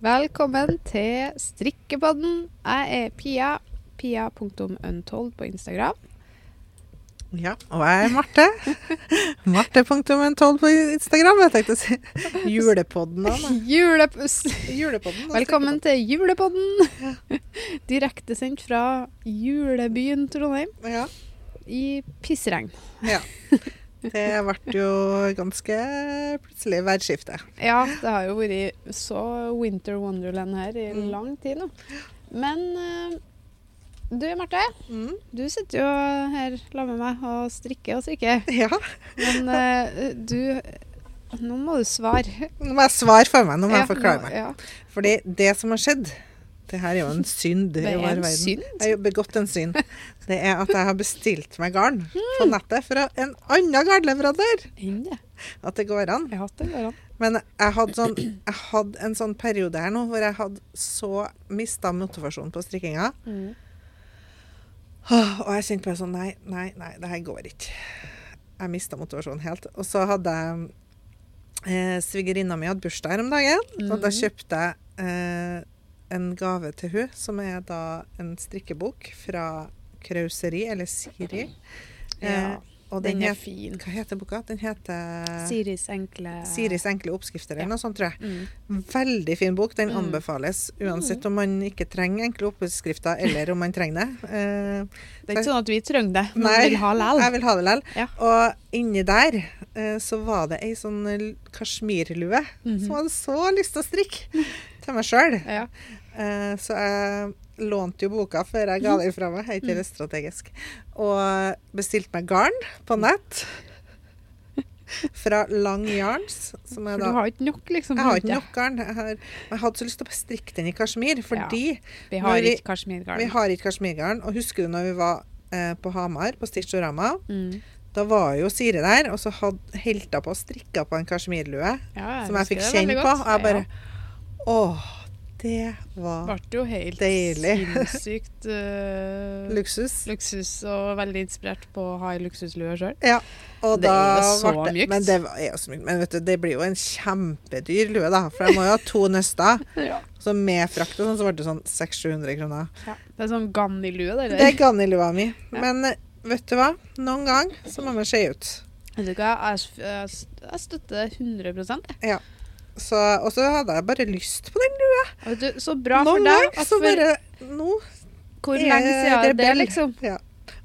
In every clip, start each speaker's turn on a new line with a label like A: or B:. A: Velkommen til strikkepodden. Jeg er Pia. Pia.untold på Instagram.
B: Ja, og jeg er Marte. Marte.12 på Instagram. Jeg tenkte å si julepodden. da, nei.
A: Julepus.
B: Julepodden da,
A: Velkommen til julepodden! Direktesendt fra julebyen Trondheim
B: strikkepodden. Ja,
A: i pissregn.
B: det ble jo ganske plutselig værskifte.
A: Ja, det har jo vært så winter wonderland her i
B: Mm.
A: lang tid nå. Men eh, du Marte,
B: Mm.
A: du sitter jo her sammen med meg og strikker og strikker.
B: Ja.
A: Men eh, du Nå må du svare.
B: Nå må jeg svare for meg. Nå må
A: Ja,
B: jeg forklare
A: nå-
B: meg.
A: Ja.
B: Fordi det som har skjedd Det her er jo en synd i
A: Det er
B: vår
A: en
B: verden.
A: synd.
B: Jeg har jo begått en synd. Det er at jeg har bestilt meg garn på nettet fra en annen garnleverandør.
A: Inn det.
B: At det går an.
A: Jeg har hatt det går an.
B: Men jeg hadde, sånn, jeg hadde en sånn periode her nå hvor jeg hadde så mista motivasjonen på strikkinga.
A: Mm.
B: Åh, Og jeg kjente bare sånn Nei, nei, nei, det her går ikke. Jeg mista motivasjonen helt. Og så hadde jeg eh, Svigerinna mi hadde bursdag her om dagen, og da
A: Mhm.
B: kjøpte jeg eh, en gave til hun, som er da en strikkebok fra Krauseri, eller Siri. Eh,
A: Ja,
B: og den,
A: den er
B: het-
A: fin.
B: Hva heter boka? Den heter
A: Siris enkle
B: Siris enkle oppskrifter, eller
A: Ja.
B: noe sånt, tror jeg.
A: Mm.
B: Veldig fin bok. Den
A: Mm.
B: anbefales uansett om man ikke trenger enkle oppskrifter, eller om man trenger det. Eh,
A: Det er ikke sånn at vi trenger det, men
B: Nei.
A: vi vil ha
B: jeg
A: lell.
B: vil ha det likevel.
A: Ja.
B: Og inni der eh, så var det ei sånn l- kasjmirlue
A: Mhm.
B: som jeg hadde så lyst til å strikke til meg sjøl.
A: Ja.
B: Eh, så jeg lånte jo boka før
A: Mhm.
B: jeg ga den fra meg. Jeg er
A: Mm.
B: ikke strategisk. Og bestilte meg garn på nett. Fra Lang Yarns, som er
A: For
B: da
A: du har ikke nok, liksom.
B: Jeg har ikke
A: ute.
B: nok garn. Jeg, har, men jeg hadde så lyst til å strikke den i kasjmir, fordi
A: Vi
B: Når
A: har
B: vi-
A: ikke kasjmirgarn.
B: vi har ikke kasjmirgarn. Og husker du når vi var eh, på Hamar, på Stitchorama?
A: Mm.
B: Da var jo Siri der, og så hadde helta på og strikka på en kasjmirlue
A: Ja,
B: som jeg
A: husker
B: fikk
A: det
B: kjenne
A: veldig
B: på.
A: godt.
B: Og jeg bare
A: Ja.
B: Åh, det var
A: Ble jo helt
B: Deilig.
A: sinnssykt eh,
B: luksus.
A: luksus, og veldig inspirert på å ha ei luksuslue sjøl.
B: Og
A: Det er
B: da
A: jo så
B: ble det-
A: mykt.
B: Men det var- er jo så mykt. Men vet du, det blir jo en kjempedyr lue, da. For jeg må jo ha to nøster.
A: Ja.
B: Så med frakt og sånn, så ble det sånn 600-700 kroner.
A: Det er sånn Ganni-lue, det
B: Det
A: der.
B: er Ganni-lua mi.
A: Ja.
B: Men eh, vet du hva? Noen gang så må man se ut.
A: Vet du hva, jeg, jeg, jeg støtter det 100 jeg.
B: Så, og så hadde jeg bare lyst på den.
A: Og vet du, Så bra for
B: Noen
A: deg.
B: gang
A: at
B: så
A: for-
B: bare Nå
A: Hvor
B: er
A: lenge
B: jeg
A: siden er det,
B: rebell.
A: liksom?
B: Ja.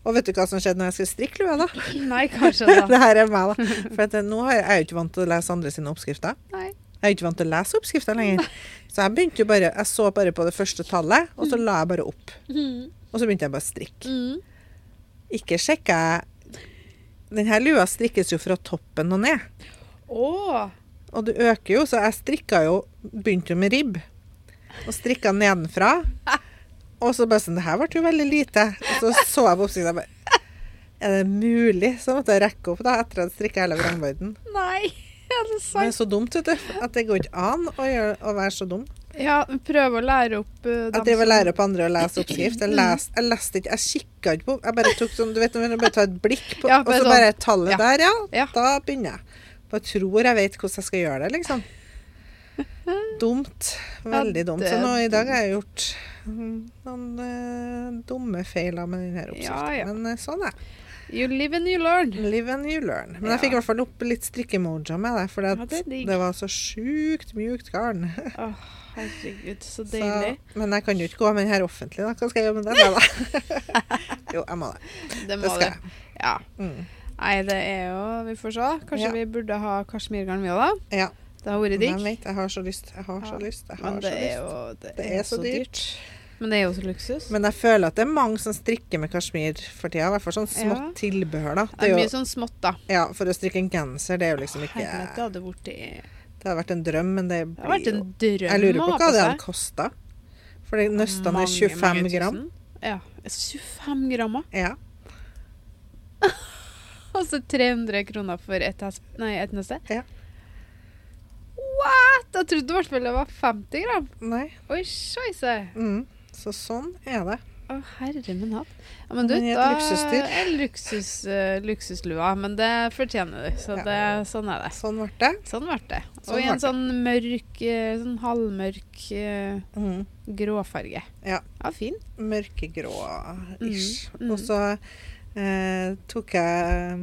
B: Og vet du hva som skjedde når jeg skulle strikke lua, da?
A: Nei, kanskje da.
B: det her er meg, da. For at, eh, nå har jeg, jeg er jo ikke vant til å lese andre sine oppskrifter.
A: Nei.
B: Jeg er jo ikke vant til å lese oppskrifter lenger. Så jeg begynte jo bare Jeg så bare på det første tallet, og så la jeg bare opp.
A: Mm.
B: Og så begynte jeg bare å strikke.
A: Mm.
B: Ikke sjekka jeg Denne lua strikkes jo fra toppen og ned.
A: Å,
B: Og du øker jo, så jeg strikka jo Begynte jo med ribb. Og strikka nedenfra. Og så bare sånn Det her ble jo veldig lite. Og så så jeg på oppskrifta og bare Er det mulig? Så måtte jeg rekke opp da, etter at jeg strikka hele vrangborden.
A: nei! Er det
B: Det er
A: sant?
B: så dumt, vet du. At det går ikke an å, gjøre, å være så dum.
A: Ja, prøv å lære opp uh,
B: Jeg driver og lærer opp andre å lese oppskrift. Jeg, les, jeg leste ikke, jeg kikka ikke på Jeg bare tok sånn Du vet når du bare tar et blikk på
A: Ja,
B: Og
A: bare
B: så
A: sånn.
B: bare tallet
A: Ja.
B: der, ja.
A: Ja.
B: Da begynner jeg. Bare tror jeg vet hvordan jeg skal gjøre det, liksom. Dumt. Veldig
A: Ja,
B: dumt.
A: det
B: Så
A: er
B: nå i dag har jeg gjort mm, noen eh, dumme feiler med denne
A: Ja,
B: oppskriften.
A: ja.
B: Men eh, sånn er det.
A: You live and you learn.
B: Live and you learn. Men jeg
A: Ja.
B: fikk i hvert fall opp litt strikkemoja med det, for
A: Ja,
B: det,
A: det er digg.
B: det var så sjukt mjukt garn.
A: Å, herregud, så
B: Så,
A: deilig.
B: men jeg kan jo ikke gå med den her offentlig, da. Hva skal jeg gjøre med den, da? jo, jeg må det.
A: det
B: Det
A: må
B: skal
A: det.
B: jeg.
A: Ja.
B: Mm.
A: Nei, det er jo Vi får se. Kanskje
B: Ja.
A: vi burde ha kasjmirgarn, vi òg, da.
B: Ja.
A: Det har vært
B: Men jeg
A: digg.
B: vet, jeg har så lyst. Jeg har så
A: Ja,
B: lyst. Jeg
A: Men
B: har
A: det
B: så
A: er
B: lyst.
A: jo
B: Det er så dyrt.
A: Men det er jo så luksus.
B: Men jeg føler at det er mange som strikker med kasjmir for tida. I hvert fall sånn smått
A: Ja.
B: tilbehør, da.
A: Det er mye
B: jo,
A: sånn smått, da.
B: ja, for å strikke en genser, det er jo liksom ikke
A: Herlighet, det
B: Det
A: hadde vært i-
B: hadde vært en drøm, men
A: Det hadde
B: det blir
A: vært
B: jo
A: en drøm
B: Jeg lurer
A: å
B: på
A: ha
B: hva det
A: seg.
B: hadde kosta. For det- nøstene er
A: Mange,
B: 25
A: mange
B: gram.
A: tusen. Ja. 25 gram, ja.
B: Ja.
A: Altså 300 kroner for et, hes- nei, et neste?
B: Ja.
A: What?! Jeg trodde i hvert fall det var 50 gram.
B: Nei.
A: Oi, scheisse.
B: Mm. Så sånn er det.
A: Å, herre min hatt. Ja, men du,
B: Men i et
A: da
B: luksusdyr.
A: er luksus, eh, luksuslua, men det fortjener du. Så
B: Ja.
A: det, sånn er det.
B: Sånn ble det.
A: Sånn ble det. Og
B: Sånn
A: i en
B: ble det.
A: sånn mørk, eh, sånn halvmørk eh,
B: Mm.
A: gråfarge.
B: Ja.
A: Ja, fin.
B: Mørkegrå-ish.
A: Mm, mm.
B: Og så eh, tok jeg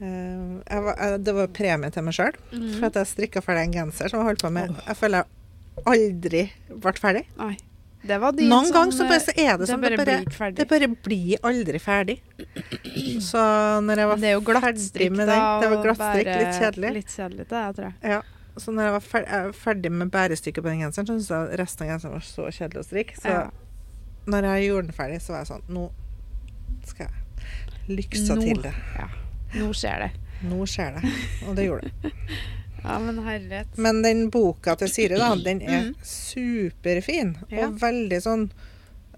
B: eh, jeg var, jeg, Det var premie til meg sjøl for
A: Mhm.
B: at jeg strikka ferdig en genser som jeg holdt på med. Jeg føler jeg aldri ble ferdig.
A: Nei. Det var de
B: Noen
A: som,
B: ganger så bare
A: eh,
B: så er det
A: det
B: som det
A: bare
B: bare,
A: blir ikke ferdig.
B: det bare blir aldri ferdig. Så når jeg var
A: Men det er jo
B: ferdig
A: glattstrikk,
B: med den
A: da.
B: Det var
A: og
B: glattstrikk,
A: bare-
B: litt kjedelig.
A: Litt kjedelig, det er, tror jeg.
B: Ja. Så når jeg var fer- jeg var ferdig med bærestykket på den genseren, så syntes jeg resten av genseren var så kjedelig å strikke. Så
A: Ja.
B: når jeg gjorde den ferdig, så var jeg sånn Nå skal jeg lykse
A: Nå.
B: til det.
A: Nå skjer det.
B: Nå skjer det. Og det gjorde det.
A: Ja, men herlighet.
B: Men den boka til Siri, da, den er
A: Mhm.
B: superfin.
A: Ja.
B: Og veldig sånn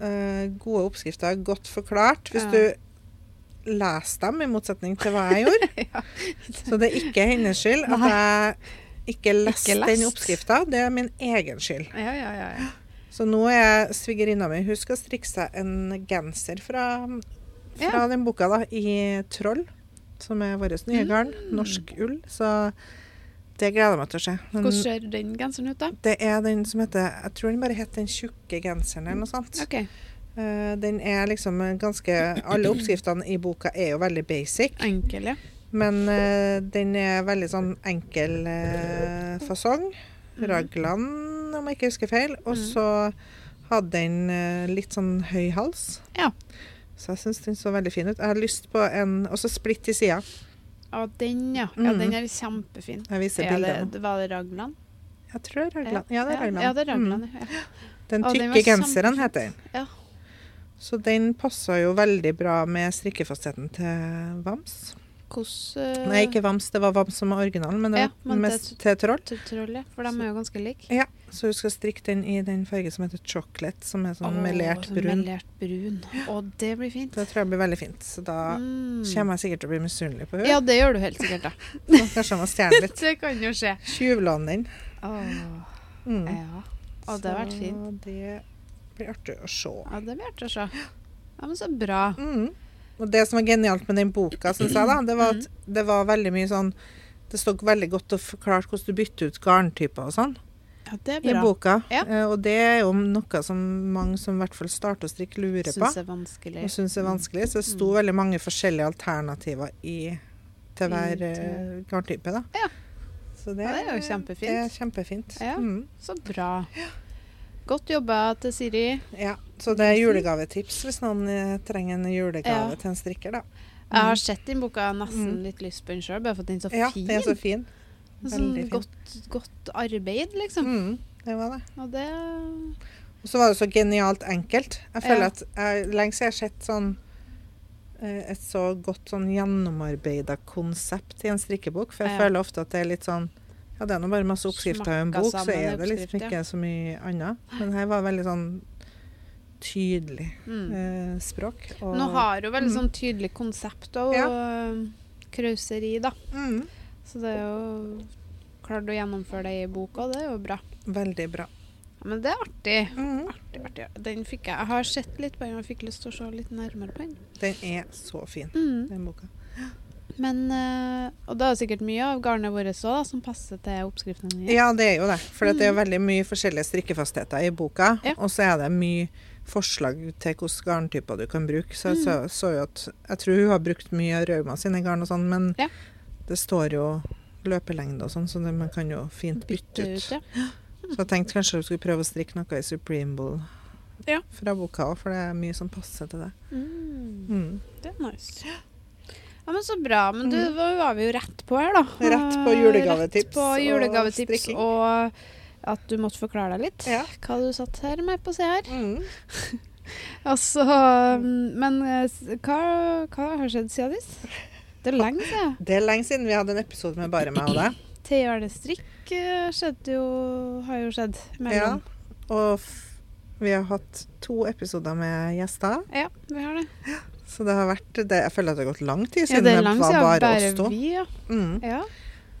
B: eh, gode oppskrifter, godt forklart. Hvis
A: Ja.
B: du leser dem, i motsetning til hva jeg gjorde.
A: Ja.
B: Så det er ikke hennes skyld at
A: Nei.
B: jeg ikke leste den
A: lest.
B: oppskrifta. Det er min egen skyld.
A: Ja, ja, ja. ja.
B: Så nå er svigerinna mi Hun skal strikke seg en genser fra, fra
A: Ja.
B: den boka, da, i Troll. Som er vårt nye garn. Norsk ull. Så det gleder jeg meg til å se. Men
A: Hvordan ser den genseren ut, da?
B: det er den som heter Jeg tror den bare heter Den tjukke genseren eller noe sånt.
A: OK.
B: Eh, den er liksom en ganske Alle oppskriftene i boka er jo veldig basic,
A: Enkel, ja.
B: men eh, den er veldig sånn enkel eh, fasong. Raglan, om jeg ikke husker feil. Og
A: Mhm.
B: så hadde den eh, litt sånn høy hals.
A: Ja.
B: Så jeg syns den så veldig fin ut. Jeg har lyst på en Og så splitt i sida.
A: Ja, den, ja. ja.
B: Mm.
A: Den er kjempefin.
B: Jeg viser
A: Er
B: bildet nå.
A: det, var det Ragland?
B: Jeg tror det er Raglan. Ja, det er Raglan.
A: Ja, det er
B: Mm.
A: Ragland, ja.
B: Den
A: Å, den
B: tykke
A: var
B: genseren
A: kjempefin.
B: heter den.
A: Ja.
B: Så den passer jo veldig bra med strikkefastheten til Vams.
A: Hvordan
B: Nei, ikke Vams, det var Vams som var originalen, men det
A: Øh. Ja,
B: var
A: men
B: mest til troll.
A: eh, Troll, ja. For de er jo ganske like.
B: Ja, så du skal strikke den i den fargen som heter chocolate, som er sånn melert
A: Å,
B: brun.
A: Melert brun. Å, det blir fint.
B: Det tror jeg blir veldig fint. Så da
A: Mm.
B: kommer jeg sikkert til å bli misunnelig på henne.
A: Ja, det gjør du helt sikkert, da.
B: Kanskje jeg må stjele litt.
A: Det kan jo skje.
B: Tjuvlåne den.
A: Åh,
B: Mm.
A: ja. Eh, Å, det har vært fint.
B: Så det blir artig å se.
A: Ja, det blir artig å se. Ja, men så bra.
B: Mm. Og det som var genialt med den boka, synes jeg, da, det var at
A: Mm.
B: det var veldig mye sånn Det stod veldig godt og forklart hvordan du bytter ut garntyper og sånn.
A: Ja, det er
B: i
A: bra.
B: boka.
A: Ja.
B: Eh, og det er jo noe som mange som i hvert fall starter å strikke, lurer på
A: Syns det er vanskelig.
B: og syns er vanskelig. Så det sto
A: Mm.
B: veldig mange forskjellige alternativer i, til hver eh, garntype. Da.
A: Ja.
B: Så
A: Ja, det er jo kjempefint.
B: Det er kjempefint.
A: Ja.
B: Mm.
A: Så bra. Godt jobba til Siri.
B: ja. Så det er julegavetips hvis noen eh, trenger en julegave
A: Ja.
B: til en strikker, da.
A: Jeg har sett den boka, jeg har nesten
B: Mm.
A: litt lyst på den sjøl, bare for at den er så
B: Ja,
A: fin.
B: den er så fin.
A: sånn
B: Veldig fin.
A: godt, godt arbeid, liksom.
B: Mm. Det var det.
A: Og det
B: Og så var det så genialt enkelt. Jeg føler
A: Ja.
B: at jeg, lenge siden jeg har sett sånn eh, et så godt sånn gjennomarbeida konsept i en strikkebok. For jeg
A: Ja.
B: føler ofte at det er litt sånn Ja, det er nå bare masse oppskrifter i en
A: Smakka
B: bok, så
A: sammen
B: er det liksom
A: oppskrift, ja.
B: ikke så mye annet. Men her var veldig sånn tydelig
A: mm.
B: eh, språk. Og,
A: Nå har hun veldig
B: Mm.
A: sånn tydelig konsept og
B: Ja.
A: øh, krauseri, da.
B: mm,
A: Så det er jo klart å gjennomføre det i boka, det er jo bra.
B: Veldig bra.
A: Ja, men det er artig.
B: Mm.
A: artig, artig. Den fikk jeg. Jeg har sett litt på den, og jeg fikk lyst til å se litt nærmere på den.
B: Den er så fin,
A: Mm.
B: den boka.
A: Men, øh, og da er det sikkert mye av garnet vårt også, da, som passer til oppskriftene dine.
B: Ja, det er jo det. For at det er veldig mye forskjellige strikkefastheter i boka.
A: Ja.
B: Og så er det mye forslag til hvilke garntyper du kan bruke. Så jeg så,
A: Mm.
B: så jo at Jeg tror hun har brukt mye av Rauma sine garn og sånn, men
A: Ja.
B: det står jo løpelengde og sånn, så det, man kan jo fint bytte ut.
A: ja.
B: Så jeg tenkte kanskje du skulle prøve å strikke noe i Supreme Bowl
A: Ja.
B: fra boka òg, for det er mye som passer til det.
A: Mm.
B: Mm.
A: Det er nice. Ja, men Så bra. Men du, da var vi jo rett på her, da.
B: Rett på
A: Eh,
B: julegavetips
A: Rett på
B: og
A: julegavetips
B: strikking.
A: og at du måtte forklare deg litt.
B: Ja.
A: Hva du satt her med på se her.
B: Mm.
A: Altså, mm, men eh, s- hva, hva har skjedd siden sist? Det er lenge siden.
B: Det er lenge siden vi hadde en episode med bare meg og deg.
A: TR-strikk eh, skjedde jo Har jo skjedd mellom.
B: Og f vi har hatt to episoder med gjester.
A: Ja. vi har det.
B: Så det har vært det, Jeg føler at det har gått lang tid
A: Ja,
B: siden
A: det
B: det,
A: er lenge
B: var
A: siden.
B: bare
A: Bare
B: oss to.
A: vi, ja.
B: Mm.
A: ja.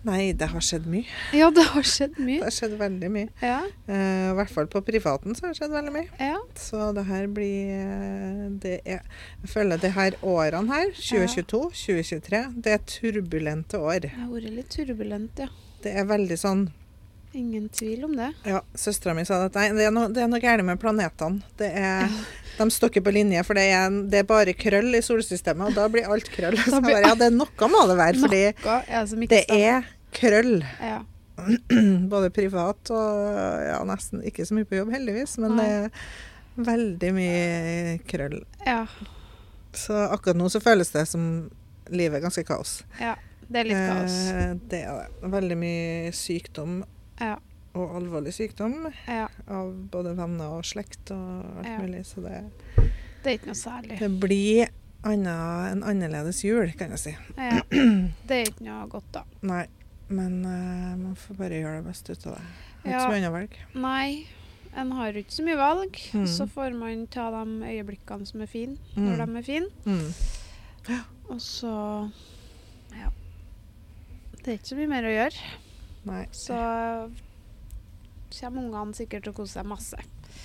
B: Nei, det har skjedd mye.
A: Ja, det har skjedd
B: Det
A: mye.
B: har skjedd veldig mye.
A: Ja,
B: Eh, I hvert fall på privaten så har det skjedd veldig mye.
A: ja.
B: Så det her blir eh, det er, Jeg føler det her årene her, 2022, 2023, det er turbulente år.
A: Jeg har vært litt turbulent, ja.
B: Det er veldig sånn
A: Ingen tvil om det.
B: Ja, søstera mi sa at nei, det er noe, det er noe galt med planetene. Det er, de står ikke på linje, for det er, en- det er bare krøll i solsystemet, og da blir alt krøll. Så
A: Da blir
B: jeg bare, ja, det er noe må det være, fordi
A: Hva er det som ikke
B: det er krøll.
A: stemmer? Ja.
B: Både privat og ja, nesten ikke så mye på jobb, heldigvis, men det
A: Nei.
B: er veldig mye krøll.
A: ja.
B: Så akkurat nå så føles det som livet er ganske kaos.
A: Ja. Det er litt kaos.
B: Eh, det er det. Veldig mye sykdom,
A: Ja.
B: og alvorlig sykdom,
A: Ja.
B: av både venner og slekt og alt
A: Ja.
B: mulig. Så det,
A: Det er ikke noe særlig.
B: det blir anna, en annerledes jul, kan jeg si.
A: Ja. Det er ikke noe godt, da.
B: Nei, men eh, man får bare gjøre det beste ut av det. Det er Ikke
A: Ja.
B: så mye annet valg.
A: Nei, en har jo ikke så mye valg.
B: Mm.
A: Så får man ta de øyeblikkene som er fine,
B: Mm.
A: når de er fine.
B: Mm.
A: Og så Ja. Det er ikke så mye mer å gjøre.
B: Nei,
A: Så kommer ungene sikkert til å kose seg masse.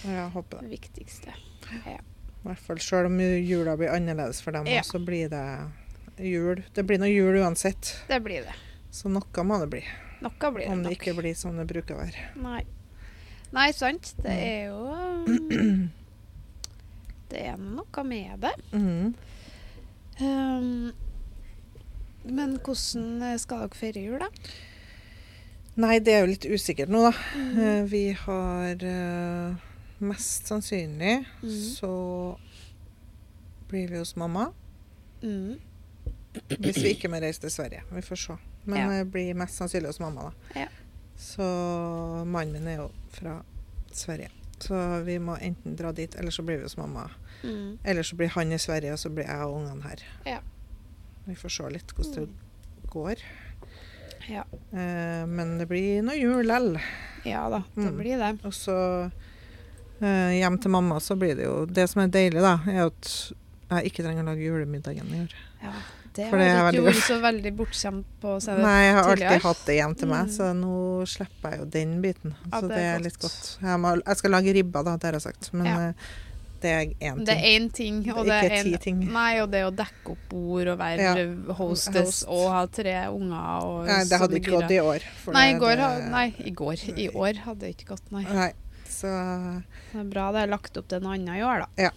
B: jeg håper det.
A: Det viktigste.
B: I hvert fall selv om jula blir annerledes for dem,
A: Ja.
B: så blir det jul. Det blir noe jul uansett,
A: Det blir det.
B: så noe må det bli.
A: Noe blir det
B: Om det
A: nok.
B: ikke blir sånn det bruker å være.
A: Nei. Nei, sant. Det er jo um, Det er noe med det.
B: Mm.
A: Um, men hvordan eh, skal dere feire jul, da?
B: Nei, det er jo litt usikkert nå, da.
A: Mm.
B: Eh, Vi har eh, mest sannsynlig
A: Mm.
B: så blir vi hos mamma.
A: Mm.
B: Hvis vi ikke må reise til Sverige. Vi får se. Men
A: Ja.
B: jeg blir mest sannsynlig hos mamma, da.
A: Ja.
B: Så mannen min er jo fra Sverige. Så vi må enten dra dit, eller så blir vi hos mamma.
A: Mm.
B: Eller så blir han i Sverige, og så blir jeg og ungene her.
A: Ja.
B: Vi får se litt hvordan det går.
A: Ja.
B: Eh, men det blir nå jul lell.
A: ja da, det
B: Mm.
A: blir det.
B: Og så eh, hjem til mamma, så blir det jo Det som er deilig, da, er jo at jeg ikke trenger å lage julemiddagen i år.
A: Ja, det
B: For
A: har
B: det
A: dere
B: er
A: jo
B: veldig
A: vært så veldig bortskjemt på å si det.
B: Nei, jeg har
A: tidligere.
B: alltid hatt det hjem til meg,
A: Mm.
B: så nå slipper jeg jo den biten.
A: Ja, det
B: så det
A: er
B: er,
A: godt.
B: litt godt. Jeg, må, jeg skal lage ribba, da, det har jeg sagt, men
A: Ja.
B: eh, det er én
A: Det
B: ting.
A: er én ting, og det er
B: ikke
A: en,
B: ti ting.
A: Nei, og det å dekke opp bord og være
B: Ja,
A: hostess
B: host.
A: og ha tre unger og
B: Nei, det hadde ikke gått i år. for
A: Nei, i
B: det-
A: går,
B: det-
A: ha- nei, i går. I år hadde det ikke gått, nei.
B: Nei. Så,
A: Det er bra det er lagt opp til noe annet i år, da.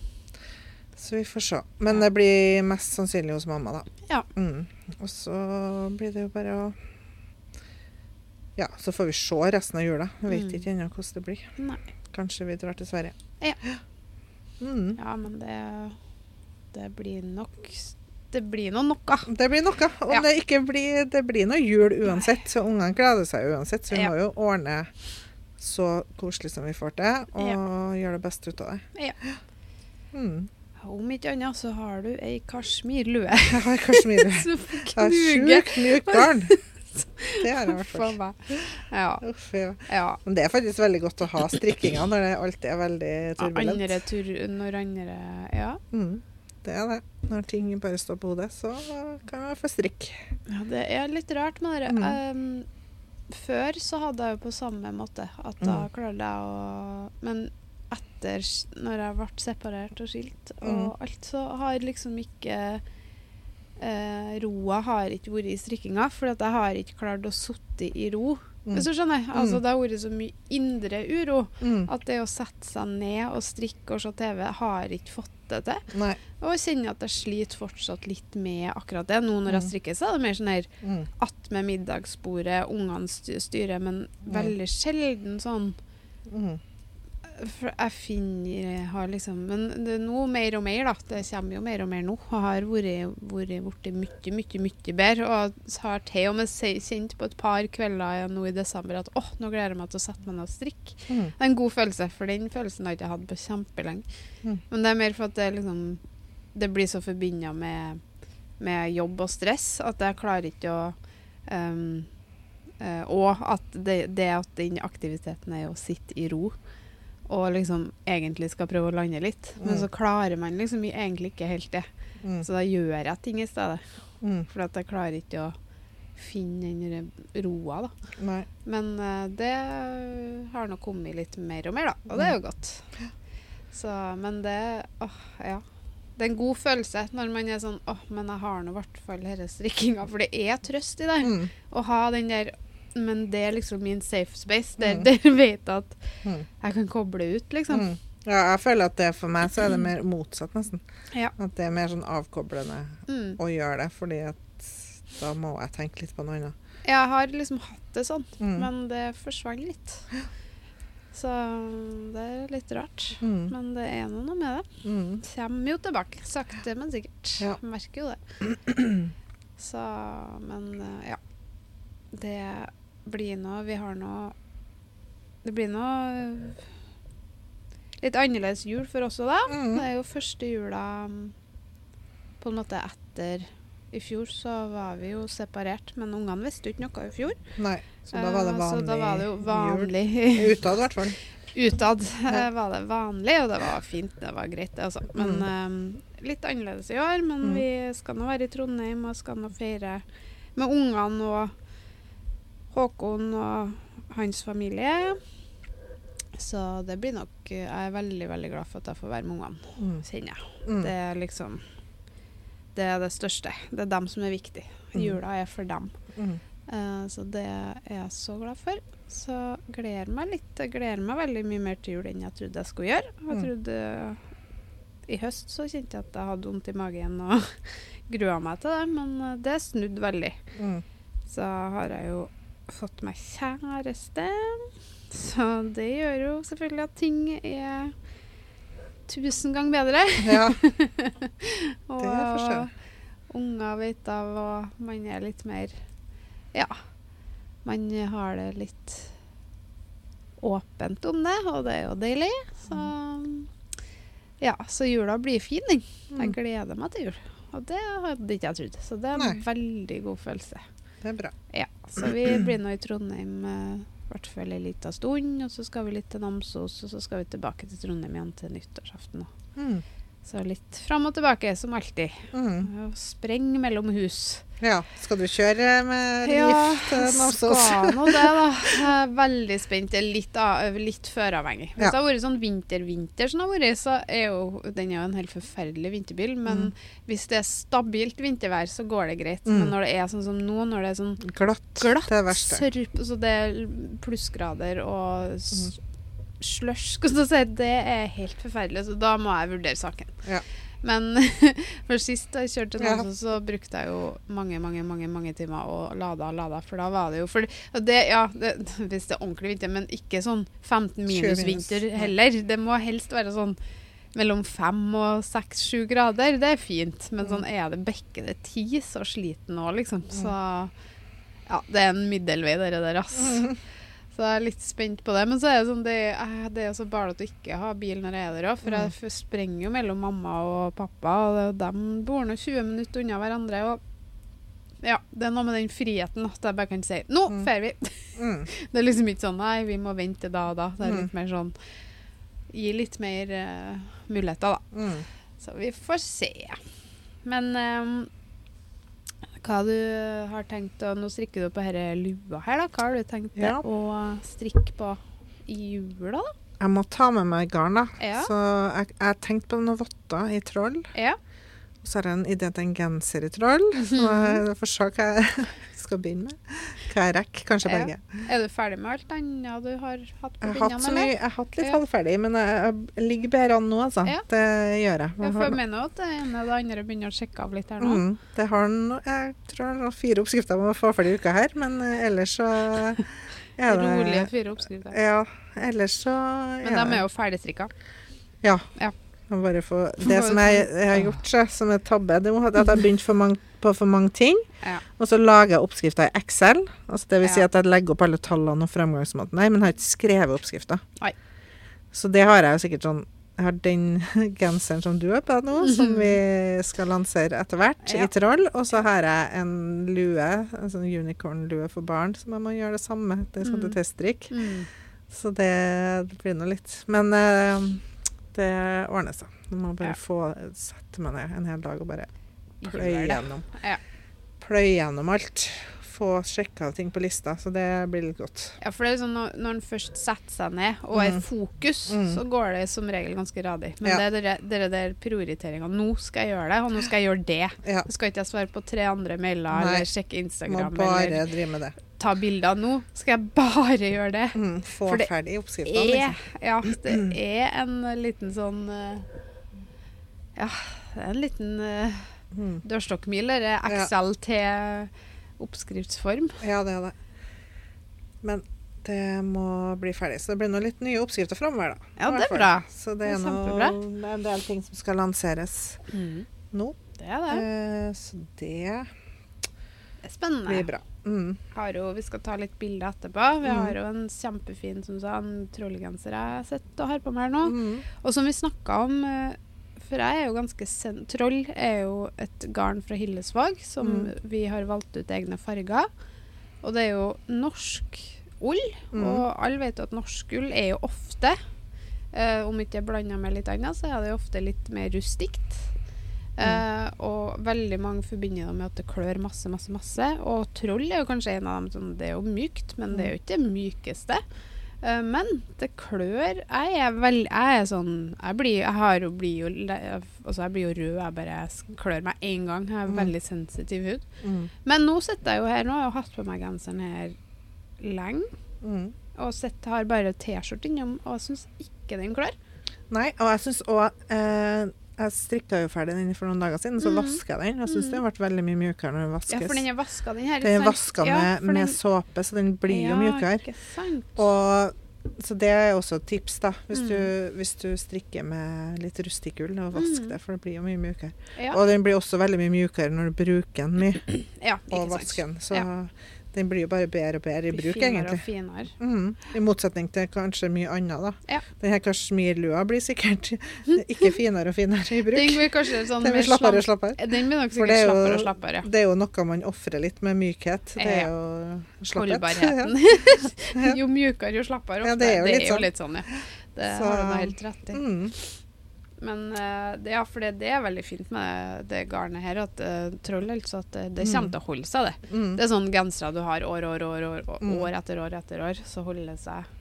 B: så vi får se. Men det blir mest sannsynlig hos mamma, da.
A: Ja.
B: Mm. Og så blir det jo bare å Ja, så får vi se resten av jula. Vi vet
A: Mm.
B: ikke ennå hvordan det blir.
A: Nei.
B: Kanskje vi drar til Sverige.
A: Ja.
B: Mm.
A: Ja, men det Det blir nok Det blir nå noe.
B: Det blir noe. Om
A: Ja.
B: det ikke blir Det blir noe jul uansett. Så ungene gleder seg uansett. Så vi
A: Ja.
B: må jo ordne så koselig som vi får til, og gjøre det beste ut av det.
A: Ja.
B: Mm.
A: Om ikke annet så har du ei kasjmirlue
B: Jeg har kasjmir.
A: som
B: Jeg har
A: knuger
B: sjukt mjukt garn. Det har jeg i hvert
A: for
B: fall.
A: meg. Ja.
B: Uff, ja.
A: ja.
B: Men det er faktisk veldig godt å ha strikkinga når det alltid er veldig turbulent.
A: Andre tur Når andre Ja.
B: Mm. Det er det. Når ting bare står på hodet, så kan man få strikk.
A: Ja, det er litt rart med det.
B: Mm.
A: Ehm, før så hadde jeg jo på samme måte, at da
B: Mm.
A: klarte jeg å Men etter, s- når jeg ble separert og skilt og
B: Mm.
A: alt, så har liksom ikke eh, roa har ikke vært i strikkinga, for at jeg har ikke klart å sitte i ro.
B: Mm.
A: Hvis du skjønner? Altså,
B: Mm.
A: det har vært så mye indre uro
B: Mm.
A: at det å sette seg ned og strikke og se TV har ikke fått det til.
B: Nei.
A: Og jeg kjenner at jeg sliter fortsatt litt med akkurat det. Nå når jeg
B: Mm.
A: strikker, så er det mer sånn her
B: Mm.
A: attmed middagsbordet, ungene sty- styrer, men veldig sjelden sånn.
B: Mm.
A: For jeg finner jeg har liksom Men det er nå mer og mer, da. Det kommer jo mer og mer nå. Jeg har vært vært borti mye, mye, mye bedre. Og jeg har til og med se- kjent på et par kvelder nå i desember at åh, nå gleder jeg meg til å sette meg ned og strikke.
B: Mm.
A: Det er en god følelse, for den følelsen har jeg ikke hatt på kjempelenge.
B: Mm.
A: Men det er mer for at det er liksom Det blir så forbinda med, med jobb og stress at jeg klarer ikke å ehm, eh, Og at det, det at den aktiviteten er å sitte i ro og liksom egentlig skal prøve å lande litt, men
B: Mm.
A: så klarer man liksom egentlig ikke helt det.
B: Mm.
A: Så da gjør jeg ting i stedet,
B: Mm.
A: for at jeg klarer ikke å finne den der roa, da.
B: Nei.
A: Men eh, det har nå kommet litt mer og mer, da. Og det
B: Mm.
A: er jo godt. Så, men det Åh, ja. Det er en god følelse når man er sånn åh, men jeg har nå i hvert fall denne strikkinga, for det er trøst i det.
B: Mm.
A: Å ha den der Men det er liksom min safe space. Der,
B: Mm.
A: der vet jeg at
B: Mm.
A: jeg kan koble ut, liksom.
B: Mm. Ja, jeg føler at det for meg så er det mer motsatt, nesten.
A: Mm. Ja.
B: At det er mer sånn avkoblende
A: Mm.
B: å gjøre det, fordi at da må jeg tenke litt på noe annet.
A: Jeg har liksom hatt det sånn,
B: Mm.
A: men det forsvant litt. Så det er litt rart.
B: Mm.
A: Men det er nå noe med det.
B: Mm.
A: Kommer jo tilbake, sakte, men sikkert.
B: Ja.
A: Merker jo det. Så, men eh, ja. Det blir nå Vi har nå Det blir nå eh, litt annerledes jul for oss òg, da.
B: Mm.
A: Det er jo første jula mm, på en måte etter I fjor så var vi jo separert, men ungene visste jo ikke noe i fjor.
B: Nei, så da var det
A: Eh,
B: vanlig,
A: så da var det jo
B: jul.
A: vanlig
B: Utad, i hvert fall.
A: Utad eh,
B: Ja.
A: var det vanlig, og det var fint, det var greit, det altså. Men eh, litt annerledes i år. Men
B: Mm.
A: vi skal nå være i Trondheim og skal nå feire med ungene og Håkon og hans familie. Så det blir nok Jeg er veldig, veldig glad for at jeg får være med ungene,
B: Mm.
A: kjenner jeg.
B: Mm.
A: Det er liksom Det er det største. Det er dem som er viktig.
B: Mm.
A: Jula er for dem.
B: Mm.
A: Eh, Så det er jeg så glad for. Så gleder meg litt. Jeg gleder meg veldig mye mer til jul enn jeg trodde jeg skulle gjøre. Jeg
B: Mm.
A: trodde I høst så kjente jeg at jeg hadde vondt i magen og grua meg til det, men eh, det er snudd veldig.
B: Mm.
A: Så har jeg jo fått meg kjæreste, så det gjør jo selvfølgelig at ting er tusen ganger bedre.
B: Ja.
A: Og
B: Det er forskjell.
A: unger vet av, og man er litt mer Ja. Man har det litt åpent om det, og det er jo deilig. Så ja, så jula blir fin, den. Jeg
B: Mm.
A: gleder meg til jul. Og det hadde ikke jeg trodd. Så det er en
B: Nei.
A: veldig god følelse.
B: Det er bra.
A: Ja, Så vi blir nå i Trondheim eh, i hvert fall en liten stund, og så skal vi litt til Namsos, og så skal vi tilbake til Trondheim igjen til nyttårsaften. da.
B: Mm.
A: Så litt fram og tilbake, som alltid.
B: Mm.
A: Og Spreng mellom hus.
B: Ja. Skal du kjøre med eh, lift til Namsos?
A: skal nå det, da. Jeg er veldig spent. Jeg er litt, av, litt føravhengig. Hvis
B: Ja.
A: det har vært sånn vinter-vinter som det har vært, så er jo den er jo en helt forferdelig vinterbil. Men hvis det er stabilt vintervær, så går det greit.
B: Mm.
A: Men når det er sånn som nå, når det er sånn
B: Glatt.
A: glatt,
B: Det er det verste.
A: sørp, så det er plussgrader og s-
B: Mhm.
A: slush, skal jeg si, det er helt forferdelig. Så da må jeg vurdere saken.
B: Ja.
A: Men for sist jeg kjørte til
B: Ja.
A: Namsos, så brukte jeg jo mange, mange mange, mange timer og lada og lada, for da var det jo for det, Ja, det, hvis det er ordentlig vinter, men ikke sånn 15 minus
B: 20 minus,
A: vinter
B: nei.
A: heller. Det må helst være sånn mellom fem og seks-sju grader. Det er fint,
B: Mm.
A: men sånn er det bekker det ti, så sliten nå, liksom. Så ja, det er en middelvei, dere der, ass.
B: Mm.
A: Så jeg er litt spent på det. Men så er det sånn, det, eh, det er så bare at du ikke har bil når jeg er der òg, for
B: Mm.
A: jeg f- sprenger jo mellom mamma og pappa, og de bor nå 20 minutter unna hverandre. og ja, Det er noe med den friheten at jeg bare kan si 'Nå
B: Mm.
A: drar vi!'
B: Mm.
A: Det er liksom ikke sånn 'Nei, vi må vente da og da'. Det er
B: Mm.
A: litt mer sånn Gi litt mer eh, muligheter, da.
B: Mm.
A: Så vi får se. Men ehm, hva du har tenkt å Nå strikker du på denne lua her, da. Hva har du tenkt
B: Ja.
A: å strikke på i jula, da?
B: Jeg må ta med meg garn, da.
A: Ja.
B: Så jeg, jeg tenkte på noen votter i troll.
A: Ja.
B: Og så har jeg en idé til en genser i troll.
A: Mhm.
B: Så jeg får se hva jeg skal begynne med. Hva jeg rekker. Kanskje
A: Ja.
B: begge.
A: Er du ferdig med alt annet du har hatt på
B: Jeg har hatt,
A: pinnene,
B: så mye,
A: eller?
B: jeg har hatt litt
A: Ja.
B: halvferdig, men jeg, jeg ligger bedre an nå, altså.
A: Ja.
B: Det gjør jeg.
A: Ja,
B: Jeg
A: for jeg
B: har-
A: mener jo at det ene og det andre begynner å sjekke av litt her nå.
B: Mm, det har no, jeg tror jeg har fire oppskrifter jeg må få ferdig i uka her, men eh, ellers så er det
A: Rolige fire oppskrifter.
B: Ja. Ellers så
A: Men de er jo ferdigstrikka.
B: Ja.
A: Ja.
B: Jeg må Bare få,
A: Får
B: det
A: bare
B: som jeg,
A: sånn-
B: jeg har gjort, så, som er tabbe, det var at jeg begynte for mange, på for mange ting.
A: Ja.
B: Og så lager jeg oppskrifter i Excel. Altså det vil si
A: Ja.
B: at jeg legger opp alle tallene og fremgangsmåten her, men jeg har ikke skrevet oppskrifter.
A: Nei.
B: Så det har jeg jo sikkert sånn Jeg har den genseren som du har på nå, som vi skal lansere etter hvert,
A: Mhm. Ja.
B: i troll. Og så har jeg en lue, en sånn unicorn-lue for barn, som jeg må gjøre det samme. Det sånn skal
A: Mm.
B: til teststrikk.
A: Mm.
B: Så det, det blir nå litt. Men eh, det ordner seg. Du må
A: Ja.
B: bare få sette meg ned en hel dag og bare pløye
A: Gjør det.
B: gjennom.
A: Ja.
B: Pløye gjennom alt. få sjekka ting på lista, så det blir litt godt.
A: Ja, for det er jo sånn når, når en først setter seg ned og er
B: Mm.
A: fokus,
B: Mm.
A: så går det som regel ganske radig. Men
B: Ja.
A: det er dere, dere der prioriteringa. Nå skal jeg gjøre det, og nå skal jeg gjøre det.
B: Ja.
A: Nå skal ikke jeg svare på tre andre mailer
B: Nei.
A: eller sjekke
B: Må
A: Instagram eller
B: bare drive med det.
A: ta bilder. Nå skal jeg bare gjøre det.
B: Mm, få
A: For det
B: ferdig oppskrifta, liksom.
A: Er, ja, det er en liten sånn eh, Ja, det er en liten eh,
B: Mm.
A: dørstokkmil. Det er
B: Ja.
A: Excel til oppskriftsform.
B: Ja, det er det. Men det må bli ferdig. Så det blir noen litt nye oppskrifter framover, da.
A: Ja,
B: I
A: det
B: hvert
A: er
B: fall.
A: bra.
B: Så det
A: Det er
B: er, noe, en del ting som skal lanseres nå.
A: Mm. Det er det.
B: Eh, så det
A: det er spennende.
B: blir bra. Mm.
A: har jo, vi skal ta litt bilder etterpå. Vi
B: Mm.
A: har jo en kjempefin som du sa, en trollgenser jeg har sett og har på meg her nå.
B: Mm.
A: Og som vi snakka om eh, For jeg er jo ganske sen Troll er jo et garn fra Hillesvag som
B: Mm.
A: vi har valgt ut egne farger. Og det er jo norsk ull.
B: Mm.
A: Og alle vet jo at norsk ull er jo ofte eh, Om ikke det er blanda med litt annet, så er det jo ofte litt mer rustikt.
B: Mm.
A: Eh, og veldig mange forbinder det med at det klør masse, masse, masse. Og troll er jo kanskje en av dem som Det er jo mykt, men det er jo ikke det mykeste. Eh, men det klør Jeg er vel Jeg er sånn Jeg blir, jeg har jo, blir jo le- Altså, jeg blir jo rød. Jeg bare sk- klør meg én gang. Jeg har
B: Mm.
A: veldig sensitiv hud.
B: Mm.
A: Men nå sitter jeg jo her. Nå har jeg jo hatt på meg genseren her lenge.
B: Mm.
A: Og sitter- har bare T-skjorte innom, og jeg syns ikke den klør.
B: Nei, og jeg syns òg eh, Jeg strikka jo ferdig den for noen dager siden, så
A: Mhm.
B: vasker jeg den. Jeg syns den ble veldig mye mjukere når den vaskes.
A: Mm. Ja, for den er vaska, den her.
B: Den er
A: sant?
B: vaska
A: Ja,
B: med,
A: for
B: med
A: den-
B: såpe, så den blir jo mjukere.
A: Ja, ikke sant.
B: Og, så det er også et tips, da. Hvis,
A: Mm.
B: du, hvis du strikker med litt rustikull og vask
A: Mm.
B: det, for det blir jo mye mjukere.
A: ja.
B: Og den blir også veldig mye mjukere når du bruker den mye
A: Ja, ikke
B: og
A: sant.
B: vasker den. Så
A: Ja.
B: den blir jo bare bedre og bedre i
A: Blir
B: bruk,
A: finere og
B: egentlig.
A: finere.
B: Mm. I motsetning til kanskje mye annet, da.
A: Ja. Mhm.
B: Den her kasjmirlua blir sikkert ikke finere og finere i
A: Den
B: bruk.
A: blir kanskje sånn
B: Den
A: mer
B: blir slappere
A: slam-
B: og slappere.
A: Den blir nok
B: For det
A: sikkert
B: er jo-
A: slappere og slappere.
B: Det er jo noe man ofrer litt med mykhet. Det
A: Ja.
B: er jo slapphet.
A: Holdbarheten. jo mjukere, jo slappere.
B: Ja,
A: Ofte. det er jo litt, sånn. ja. Det
B: Så-
A: har du nå helt rett i.
B: Mm.
A: Men eh, det, ja, for det, det er veldig fint med det garnet her, at eh, troll, altså, at det, det
B: Mm.
A: kommer til å holde seg, det.
B: Mm.
A: Det er sånn gensere du har år, år, år, år, år,
B: Mm.
A: år etter år etter år, så holder det seg.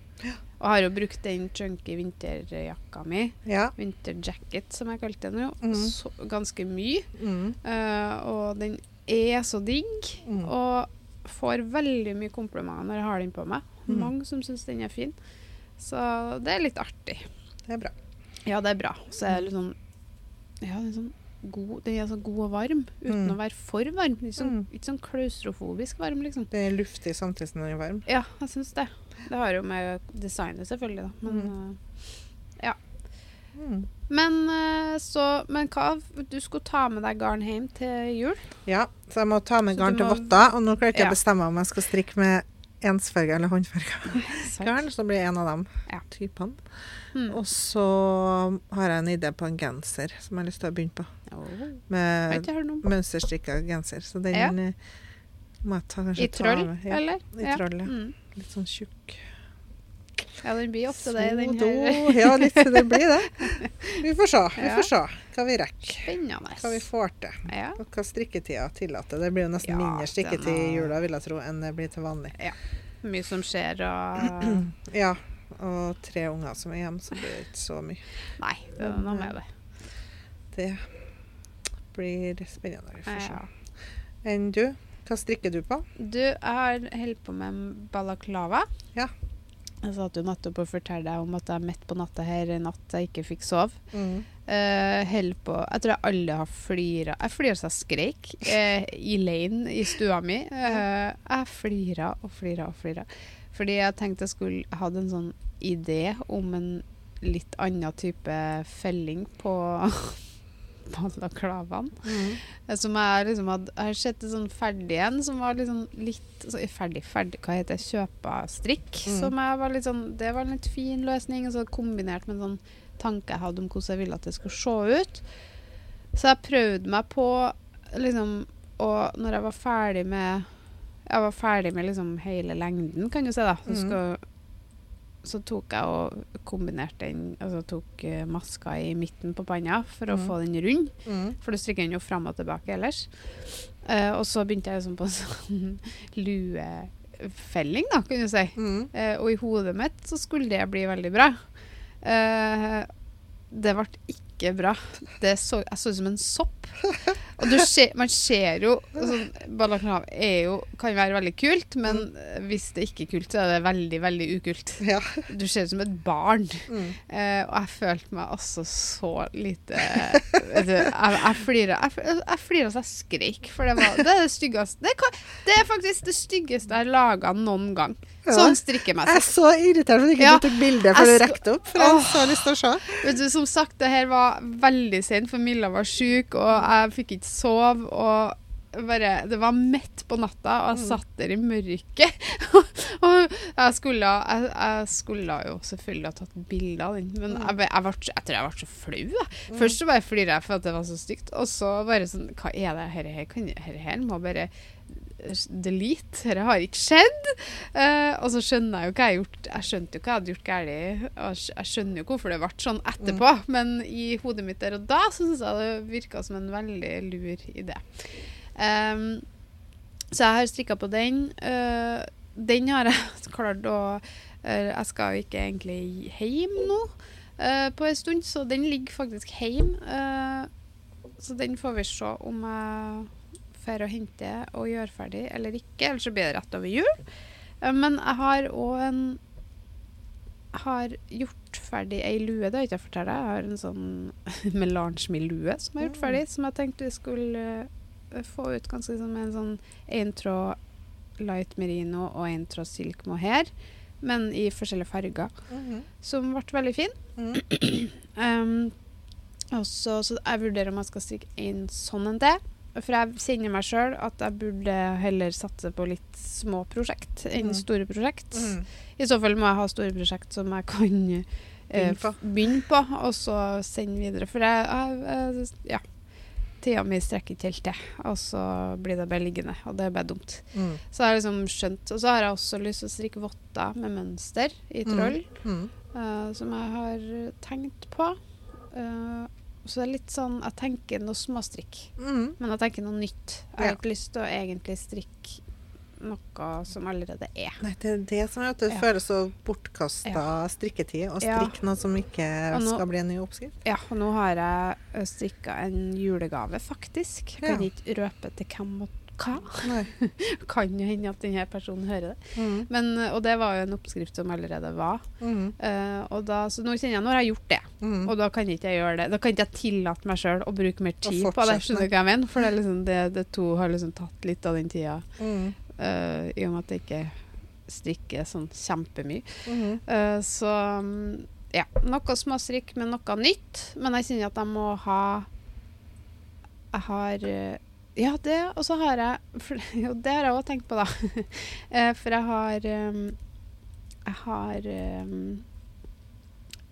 A: Og har jo brukt den chunky vinterjakka mi,
B: Ja.
A: vinterjacket som jeg kalte den jo,
B: Mm.
A: så, ganske mye.
B: Mm.
A: Eh, og den er så digg,
B: Mm.
A: og får veldig mye komplimenter når jeg har den på meg.
B: Mm.
A: Mange som syns den er fin. Så det er litt artig.
B: Det er bra.
A: Ja, det er bra. Så er det litt sånn Ja, den er sånn god, den er så god og varm uten å
B: Mm.
A: være for varm. Litt sånn,
B: Mm.
A: litt sånn klaustrofobisk varm, liksom.
B: Det er luftig samtidig som den er varm.
A: Ja, jeg syns det. Det har jo med designet selvfølgelig, da. Men, eh, ja.
B: Mm.
A: men, eh, så, men hva Du skulle ta med deg garn hjem til jul?
B: Ja, så jeg må ta med
A: Så
B: garn
A: du
B: til
A: må-
B: votter. Og nå klarer jeg ikke
A: Ja.
B: å bestemme om jeg skal strikke med ensfarga eller håndfarga garn, så blir jeg en av dem
A: Ja.
B: typene.
A: Mm.
B: Og så har jeg en idé på en genser som jeg har lyst til å begynne på.
A: Åh. Har
B: Med
A: ikke hørt noe om
B: mønsterstrikka genser. Så den
A: Ja.
B: eh, må jeg ta, kanskje
A: I troll,
B: ta med. Ja,
A: eller?
B: I troll, ja.
A: Mm.
B: Litt sånn tjukk.
A: ja, den blir ofte det i den her.
B: Snodo. Ja, litt det blir det. Vi får se. Vi
A: Ja.
B: får se hva vi rekker.
A: Spennende.
B: Hva vi får til.
A: Ja.
B: Og hva strikketida tillater. Det blir jo nesten
A: Ja,
B: mindre strikketid i
A: den er-
B: jula, vil jeg tro, enn det blir til vanlig.
A: Mye som skjer og
B: Ja, og tre unger som er hjemme, så blir det ikke så mye.
A: Nei, det er noe med det.
B: Det blir spennende. Vi får se.
A: Ja.
B: Enn du? Hva strikker du på?
A: Du, jeg har holdt på med en balaklava.
B: Ja.
A: Jeg satt jo nettopp og fortalte deg om at jeg midt på natta her i natt jeg ikke fikk sove. Eh, held på Jeg tror jeg alle har flira Jeg flira så jeg skreik eh, i leiren i stua mi. Eh, jeg flira og flira og flira. Fordi jeg tenkte jeg skulle Jeg hadde en sånn idé om en litt annen type felling på balaklavaen.
B: Mm.
A: Eh, Som jeg liksom hadde Jeg har sett en sånn ferdig en som var liksom litt så, Ferdig, ferdig, hva heter det? Kjøpastrikk.
B: Mm.
A: Som jeg var litt sånn Det var en litt fin løsning. Og så kombinert med en sånn tanke jeg hadde om hvordan jeg ville at det skulle se ut. Så jeg prøvde meg på liksom Og når jeg var ferdig med Jeg var ferdig med liksom hele lengden, kan du si, da. Så
B: Mm.
A: skal så tok jeg og kombinerte den Altså tok eh, maska i midten på panna for å
B: Mm.
A: få den rund.
B: Mm.
A: For du strikker den jo fram og tilbake ellers. Eh, og så begynte jeg liksom på sånn luefelling, da, kan du si.
B: Mm.
A: Eh, og i hodet mitt så skulle det bli veldig bra. Eh, det ble ikke bra. Det så, jeg så ut som en sopp. Og du ser, man ser jo sånn, Balaklava er jo, kan være veldig kult, men eh, hvis det ikke er kult, så er det veldig, veldig ukult.
B: Ja.
A: Du ser ut som et barn.
B: Mm.
A: Eh, og jeg følte meg altså så lite vet du, Jeg, jeg flira jeg, f- jeg flira så jeg skreik, for det, var, det er det styggeste det, kan, det er faktisk det styggeste jeg har laga noen gang.
B: Ja.
A: Sånn strikkemessig.
B: Jeg er så irritert for at du ikke
A: Ja.
B: du tok bilde før du
A: Jeg sk-
B: rekte opp. For jeg har så lyst til å se.
A: Vet du, som sagt, det her var veldig sent, for Milla var syk, og jeg fikk ikke sove, og bare, det var midt på natta, og jeg
B: Mm.
A: satt der i mørket. og jeg skulle, jeg, jeg skulle jo selvfølgelig ha tatt bilde av den, men
B: Mm.
A: jeg, ble- jeg, ble, så- jeg tror jeg ble så flau. jeg. Først så bare flirer jeg for at det var så stygt, og så bare sånn, hva er det her, her, kan, her, her må bare delete, dette har ikke skjedd. Eh, og så skjønner jeg jo hva jeg har gjort. Jeg skjønte jo hva jeg hadde gjort galt. og Jeg skj- jeg skjønner jo hvorfor det ble sånn etterpå, men i hodet mitt der og da så syns jeg det virka som en veldig lur idé. Em, så jeg har strikka på den. Eh, den har jeg klart å eh, Jeg skal jo ikke egentlig hjem nå eh, på en stund, så den ligger faktisk hjemme. eh, så den får vi se om jeg for å hente og gjøre ferdig eller ikke, ellers så blir det rett over jul. Eh, Men jeg har òg en jeg har gjort ferdig ei lue, det har ikke jeg fortalt deg. Jeg har en sånn melange-mi-lue som jeg har gjort ferdig, som jeg tenkte jeg skulle eh, få ut ganske som en sånn én tråd light merino og én tråd silk mohair, men i forskjellige farger,
B: Mhm.
A: som ble veldig fin.
B: Mhm.
A: Um, og så, så jeg vurderer om jeg skal strikke en sånn en til. For jeg kjenner meg sjøl at jeg burde heller satse på litt små prosjekt enn
B: Mm.
A: store prosjekt.
B: Mhm.
A: I så fall må jeg ha store prosjekt som jeg kan eh,
B: Begynne på.
A: f- begynne på, og så sende videre. For jeg, jeg, jeg ja. Tida mi strekker ikke helt til, og så blir det bare liggende. Og det er bare dumt.
B: Mhm.
A: Så jeg har liksom skjønt, Og så har jeg også lyst til å strikke votter med mønster i
B: Mm.
A: troll.
B: Mhm.
A: Eh, som jeg har tenkt på. Eh, så det er litt sånn Jeg tenker noe småstrikk,
B: Mhm.
A: men jeg tenker noe nytt. Jeg har
B: Ja.
A: ikke lyst til å egentlig strikke noe som allerede er.
B: Nei, det er det som gjør at det
A: Ja.
B: føles så bortkasta strikketid å
A: Ja.
B: strikke noe som ikke
A: Og nå-
B: skal bli en ny oppskrift.
A: Ja, og nå har jeg strikka en julegave, faktisk. Jeg kan
B: Ja.
A: ikke røpe til hvem og hva.
B: Nei.
A: Kan jo hende at denne personen hører det.
B: Mhm.
A: Men, eh, og det var jo en oppskrift som allerede var.
B: Mhm.
A: Eh, og da, så nå kjenner jeg nå har jeg gjort det.
B: Mhm.
A: Og da kan ikke jeg gjøre det. Da kan ikke jeg tillate meg sjøl å bruke mer tid på det.
B: fortsette.
A: Skjønner du hva jeg mener? For det, er liksom, det, det to har liksom tatt litt av den tida,
B: Mhm.
A: eh, i og med at jeg ikke strikker sånn kjempemye.
B: Mhm.
A: Eh, så mm, ja, noe småstrikk, men noe nytt. Men jeg kjenner at jeg må ha Jeg har eh, Ja, det, og så har jeg for, Jo, det har jeg òg tenkt på, da. Eh, for jeg har eh, Jeg har eh,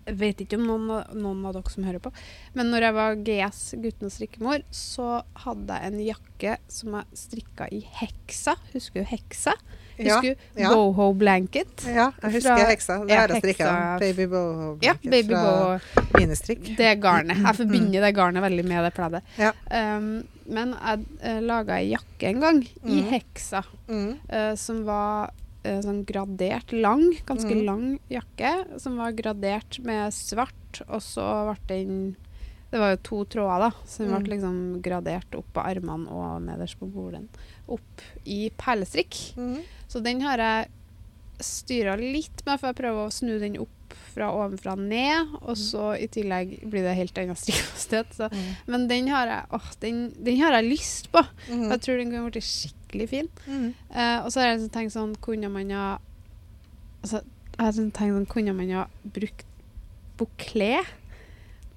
A: jeg vet ikke om noen, av- noen av dere som hører på, men når jeg var GS, guttenes strikkemor, så hadde jeg en jakke som jeg strikka i heksa. Husker du heksa?
B: Ja.
A: Husker du
B: ja.
A: boho blanket?
B: Ja, jeg husker
A: Fra-
B: heksa. Det
A: ja,
B: har jeg strikka.
A: heksa-
B: Baby boho
A: Ja,
B: blanket
A: baby
B: fra
A: boho.
B: Minestrikk.
A: Det garnet. Jeg forbinder det garnet veldig med det pleddet.
B: Ja.
A: Um, men jeg uh, laga ei jakke en gang, i
B: Mm.
A: heksa,
B: Mhm.
A: eh, som var eh, sånn gradert lang, ganske
B: Mm.
A: lang jakke, som var gradert med svart, og så ble den det var jo to tråder, da, som
B: Mm.
A: ble liksom gradert opp av armene og nederst på bordet. Opp i perlestrikk.
B: Mhm.
A: Så den har jeg styra litt med, for jeg prøver å snu den opp fra ovenfra og ned. Og så i tillegg blir det helt annen strikkefasthet. så-
B: Mhm.
A: Men den har jeg åh, den, den har jeg lyst på.
B: Mhm.
A: Jeg tror den kunne blitt skikkelig fin.
B: Mhm.
A: Eh, og så har jeg liksom tenkt sånn Kunne man ha altså, jeg har liksom tenkt sånn, Kunne man ha brukt bukle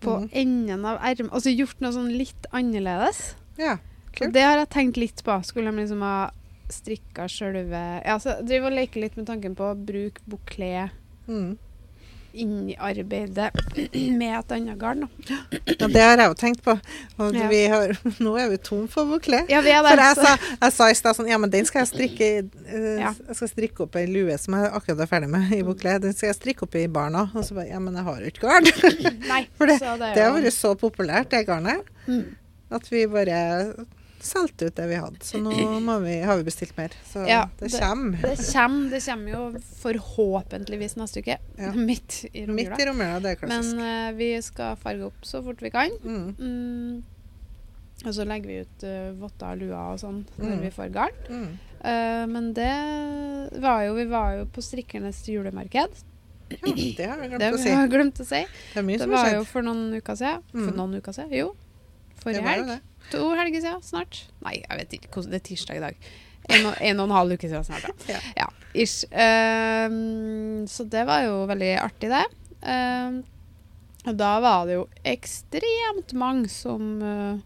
A: på
B: Mhm.
A: enden av ermet? Altså gjort noe sånn litt annerledes?
B: Ja.
A: Så
B: Kult.
A: det har jeg tenkt litt på. Skulle de liksom ha altså, strikka sjølve Ja, så driver og leker litt med tanken på å bruke bukle
B: Mhm.
A: innarbeide med et annet garn. da.
B: Og det har jeg jo tenkt på. Og
A: Ja.
B: vi har, nå er vi tom for bukle.
A: Ja, vi er der.
B: For jeg
A: så-
B: sa, jeg sa i stad sånn Ja, men den skal jeg strikke eh,
A: Ja.
B: Jeg skal strikke opp ei lue som jeg akkurat er ferdig med i bukle. Den skal jeg strikke opp i barna. Og så bare Ja, men jeg har jo ikke garn.
A: Nei,
B: For
A: så det, er
B: Det har
A: jo-
B: vært så populært, det garnet,
A: Mm.
B: at vi bare solgte ut det vi hadde. Så nå må vi, har vi bestilt mer. Så
A: Ja,
B: det
A: det-
B: kommer.
A: Det kommer, det kommer jo forhåpentligvis neste uke.
B: Ja.
A: Midt i romjula.
B: Midt i romjula, det er klassisk.
A: Men eh, vi skal farge opp så fort vi kan.
B: Mm,
A: Mm. Og så legger vi ut eh, votter og luer og sånn når
B: Mm.
A: vi får garn.
B: mm.
A: Eh, men det var jo Vi var jo på strikkernes julemarked.
B: Ja, det har vi
A: Det
B: glemt å
A: vi
B: si.
A: har glemt å si.
B: Det er mye
A: Det
B: som har
A: var jo
B: skjedd.
A: for noen uker siden. For
B: Mm.
A: noen uker siden? Jo.
B: Det
A: Forrige
B: var jo
A: helg.
B: det.
A: To helger siden snart. Nei, jeg vet ikke. hvordan- Det er tirsdag i dag. En og en, og en halv uke siden snart, da.
B: Ja.
A: Ja, ish. Ehm, så det var jo veldig artig, det. Ehm, og da var det jo ekstremt mange som eh,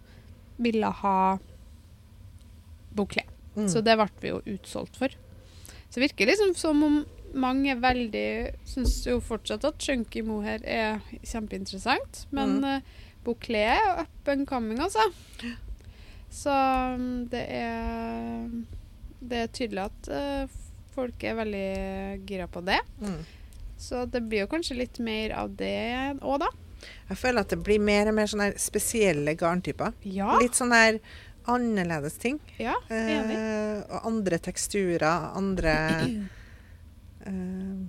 A: ville ha bukle.
B: Mm.
A: Så det ble vi jo utsolgt for. Så det virker liksom som om mange er veldig Syns jo fortsatt at chunky mohair er kjempeinteressant, men
B: Mm.
A: mm. bouclé er jo up and coming, altså. Så mm, det er Det er tydelig at eh, folk er veldig gira på det.
B: Mm.
A: Så det blir jo kanskje litt mer av det òg, da.
B: Jeg føler at det blir mer og mer sånne her spesielle garntyper.
A: Ja.
B: Litt sånn her annerledes ting.
A: ja. enig.
B: Eh, og andre teksturer, andre
A: Mm.
B: eh,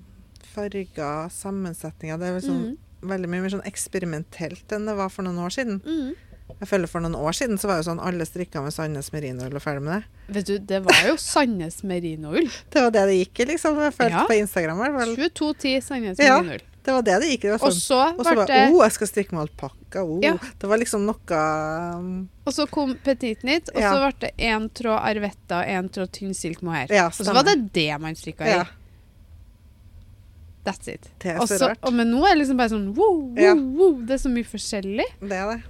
B: farger, sammensetninger. Det er liksom
A: Mm.
B: veldig mye mer sånn eksperimentelt enn det var for noen år siden.
A: Mm.
B: Jeg føler For noen år siden så var jo sånn alle strikka med Sandnes merinoull og ferdig med det.
A: Vet du, det var jo Sandnes merinoull.
B: Det var det det gikk i, liksom. Jeg følte
A: Ja.
B: på Instagram. i hvert fall.
A: 2210 Sandnes
B: Ja.
A: merinoull.
B: Det var det det gikk i. Det var
A: Og
B: sånn.
A: så
B: Og så
A: ble
B: bare
A: det
B: Å, oh, jeg skal strikke med alpakka. Oh.
A: Ja.
B: Det var liksom noe um,
A: Og så kom Petit Nytt, og
B: Ja.
A: så ble det én tråd Arvetta og én tråd tynn silk mohair.
B: Ja,
A: og så var det det man strikka i.
B: Ja,
A: That's it.
B: det er
A: Og
B: så
A: så-
B: rart.
A: og, men nå er det liksom bare sånn wow, wow,
B: Ja.
A: wow. Det er så mye forskjellig.
B: Det er det.